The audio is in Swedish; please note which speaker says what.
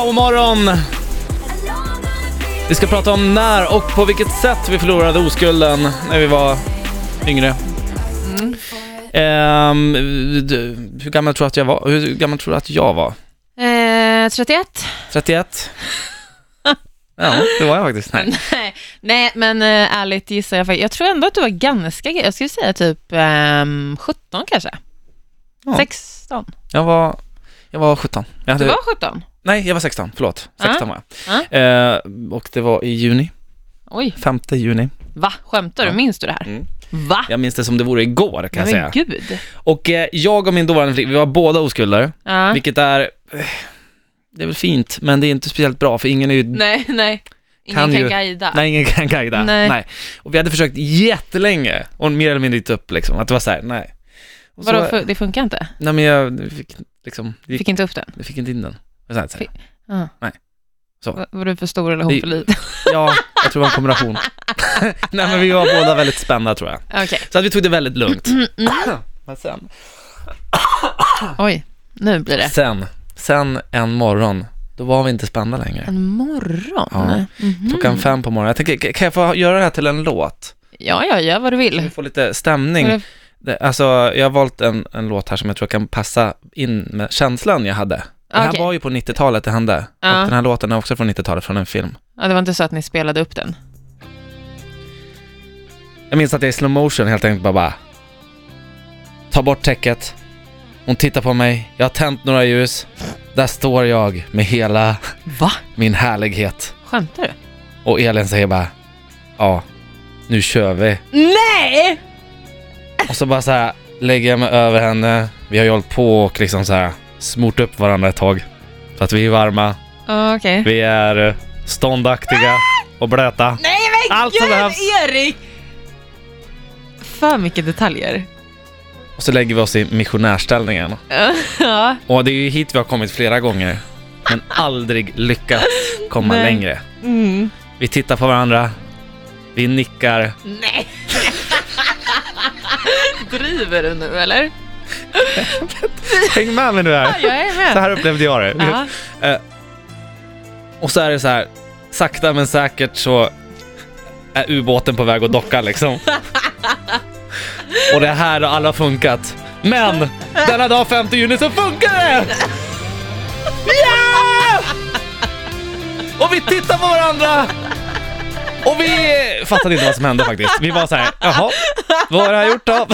Speaker 1: Powermorgon! Vi ska prata om när och på vilket sätt vi förlorade oskulden när vi var yngre. Ehm, du, hur gammal tror du att jag var? Hur gammal tror du att jag var?
Speaker 2: Eh, 31?
Speaker 1: 31? ja, det var jag faktiskt. Nej.
Speaker 2: Nej, nej men eh, ärligt gissar jag faktiskt. Jag tror ändå att du var ganska, ga- jag skulle säga typ ehm, 17 kanske.
Speaker 1: Ja.
Speaker 2: 16?
Speaker 1: Jag var, jag var 17. Jag
Speaker 2: Du
Speaker 1: hade,
Speaker 2: var Ah. 17?
Speaker 1: nej, jag var 16. Förlåt. 16 var jag.
Speaker 2: Ja.
Speaker 1: Ehm, och det var i juni,
Speaker 2: Oj,
Speaker 1: 5 juni.
Speaker 2: va? Skämtar du?
Speaker 1: Ja.
Speaker 2: Minns du det här?
Speaker 1: Mm.
Speaker 2: Va?
Speaker 1: Jag minns det som det vore igår kan jag
Speaker 2: men
Speaker 1: säga.
Speaker 2: gud.
Speaker 1: Och eh, jag och min dåvarande flickvän, vi var båda oskulder.
Speaker 2: Ja.
Speaker 1: Vilket är, eh, det är väl fint, men det är inte speciellt bra för ingen är ju, nej,
Speaker 2: Nej, nej. Ingen
Speaker 1: Kan
Speaker 2: kan,
Speaker 1: ju-
Speaker 2: guida.
Speaker 1: ingen kan guida.
Speaker 2: Nej.
Speaker 1: Och vi hade försökt jättelänge, och mer eller mindre gett upp liksom, att det var så här, nej. Och så,
Speaker 2: Vadå, för, det funkar inte?
Speaker 1: Nej men jag fick liksom, det gick,
Speaker 2: Fick inte upp den?
Speaker 1: jag fick inte in den. Och Så här, så här.
Speaker 2: Fick- Ja.
Speaker 1: Nej. Så.
Speaker 2: Va- Var du för stor eller hon
Speaker 1: Det-
Speaker 2: för liten?
Speaker 1: Ja, jag tror det var en kombination. nej men vi var båda väldigt spända tror jag.
Speaker 2: Okej.
Speaker 1: Så att vi tog det väldigt lugnt.
Speaker 2: Mm,
Speaker 1: men sen, Ah.
Speaker 2: Oj, nu blir det.
Speaker 1: sen, sen en morgon, då var vi inte spända längre.
Speaker 2: En morgon?
Speaker 1: Ja.
Speaker 2: Mhm.
Speaker 1: Klockan fem på morgonen. Jag tänker, kan jag få göra det här till en låt?
Speaker 2: Ja, ja, gör vad du
Speaker 1: Så vi
Speaker 2: vill.
Speaker 1: får lite stämning.
Speaker 2: Vad du-
Speaker 1: Det, alltså, jag har valt en, en låt här som jag tror kan passa in med känslan jag hade. Det här
Speaker 2: Okej.
Speaker 1: var ju på 90-talet det hände.
Speaker 2: Ja.
Speaker 1: Och den här låten är också från 90-talet, från en film.
Speaker 2: Ja, det var inte så att ni spelade upp den?
Speaker 1: Jag minns att jag i slow motion helt enkelt bara, bara tar bort täcket. Hon tittar på mig, jag har tänt några ljus. Där står jag med hela
Speaker 2: Va?
Speaker 1: min härlighet.
Speaker 2: Skämtar du?
Speaker 1: Och Elin säger bara, ja, nu kör vi.
Speaker 2: Nej!
Speaker 1: Och så bara så här lägger jag mig över henne. Vi har ju hållit på och liksom så här smort upp varandra ett tag. Så att vi är varma,
Speaker 2: Okej.
Speaker 1: vi är eh, ståndaktiga och blöta.
Speaker 2: Nej men
Speaker 1: Allt som behövs.
Speaker 2: Erik! För mycket detaljer.
Speaker 1: Och så lägger vi oss i missionärställningen.
Speaker 2: ja.
Speaker 1: Och det är ju hit vi har kommit flera gånger. Men aldrig lyckats komma
Speaker 2: Nej.
Speaker 1: längre.
Speaker 2: Mm.
Speaker 1: Vi tittar på varandra. Vi nickar.
Speaker 2: Nej! Driver du nu eller?
Speaker 1: Häng med mig nu
Speaker 2: Ja,
Speaker 1: här.
Speaker 2: jag är
Speaker 1: Så
Speaker 2: med.
Speaker 1: här upplevde jag det.
Speaker 2: Ja.
Speaker 1: Och så är det så här, sakta men säkert så är ubåten på väg att docka liksom. Och det är här har alla funkat. Men denna dag 5 juni så funkar det! Ja! Och vi tittar på varandra! Och vi fattade inte vad som hände faktiskt. Vi var så här, jaha, vad har jag gjort då?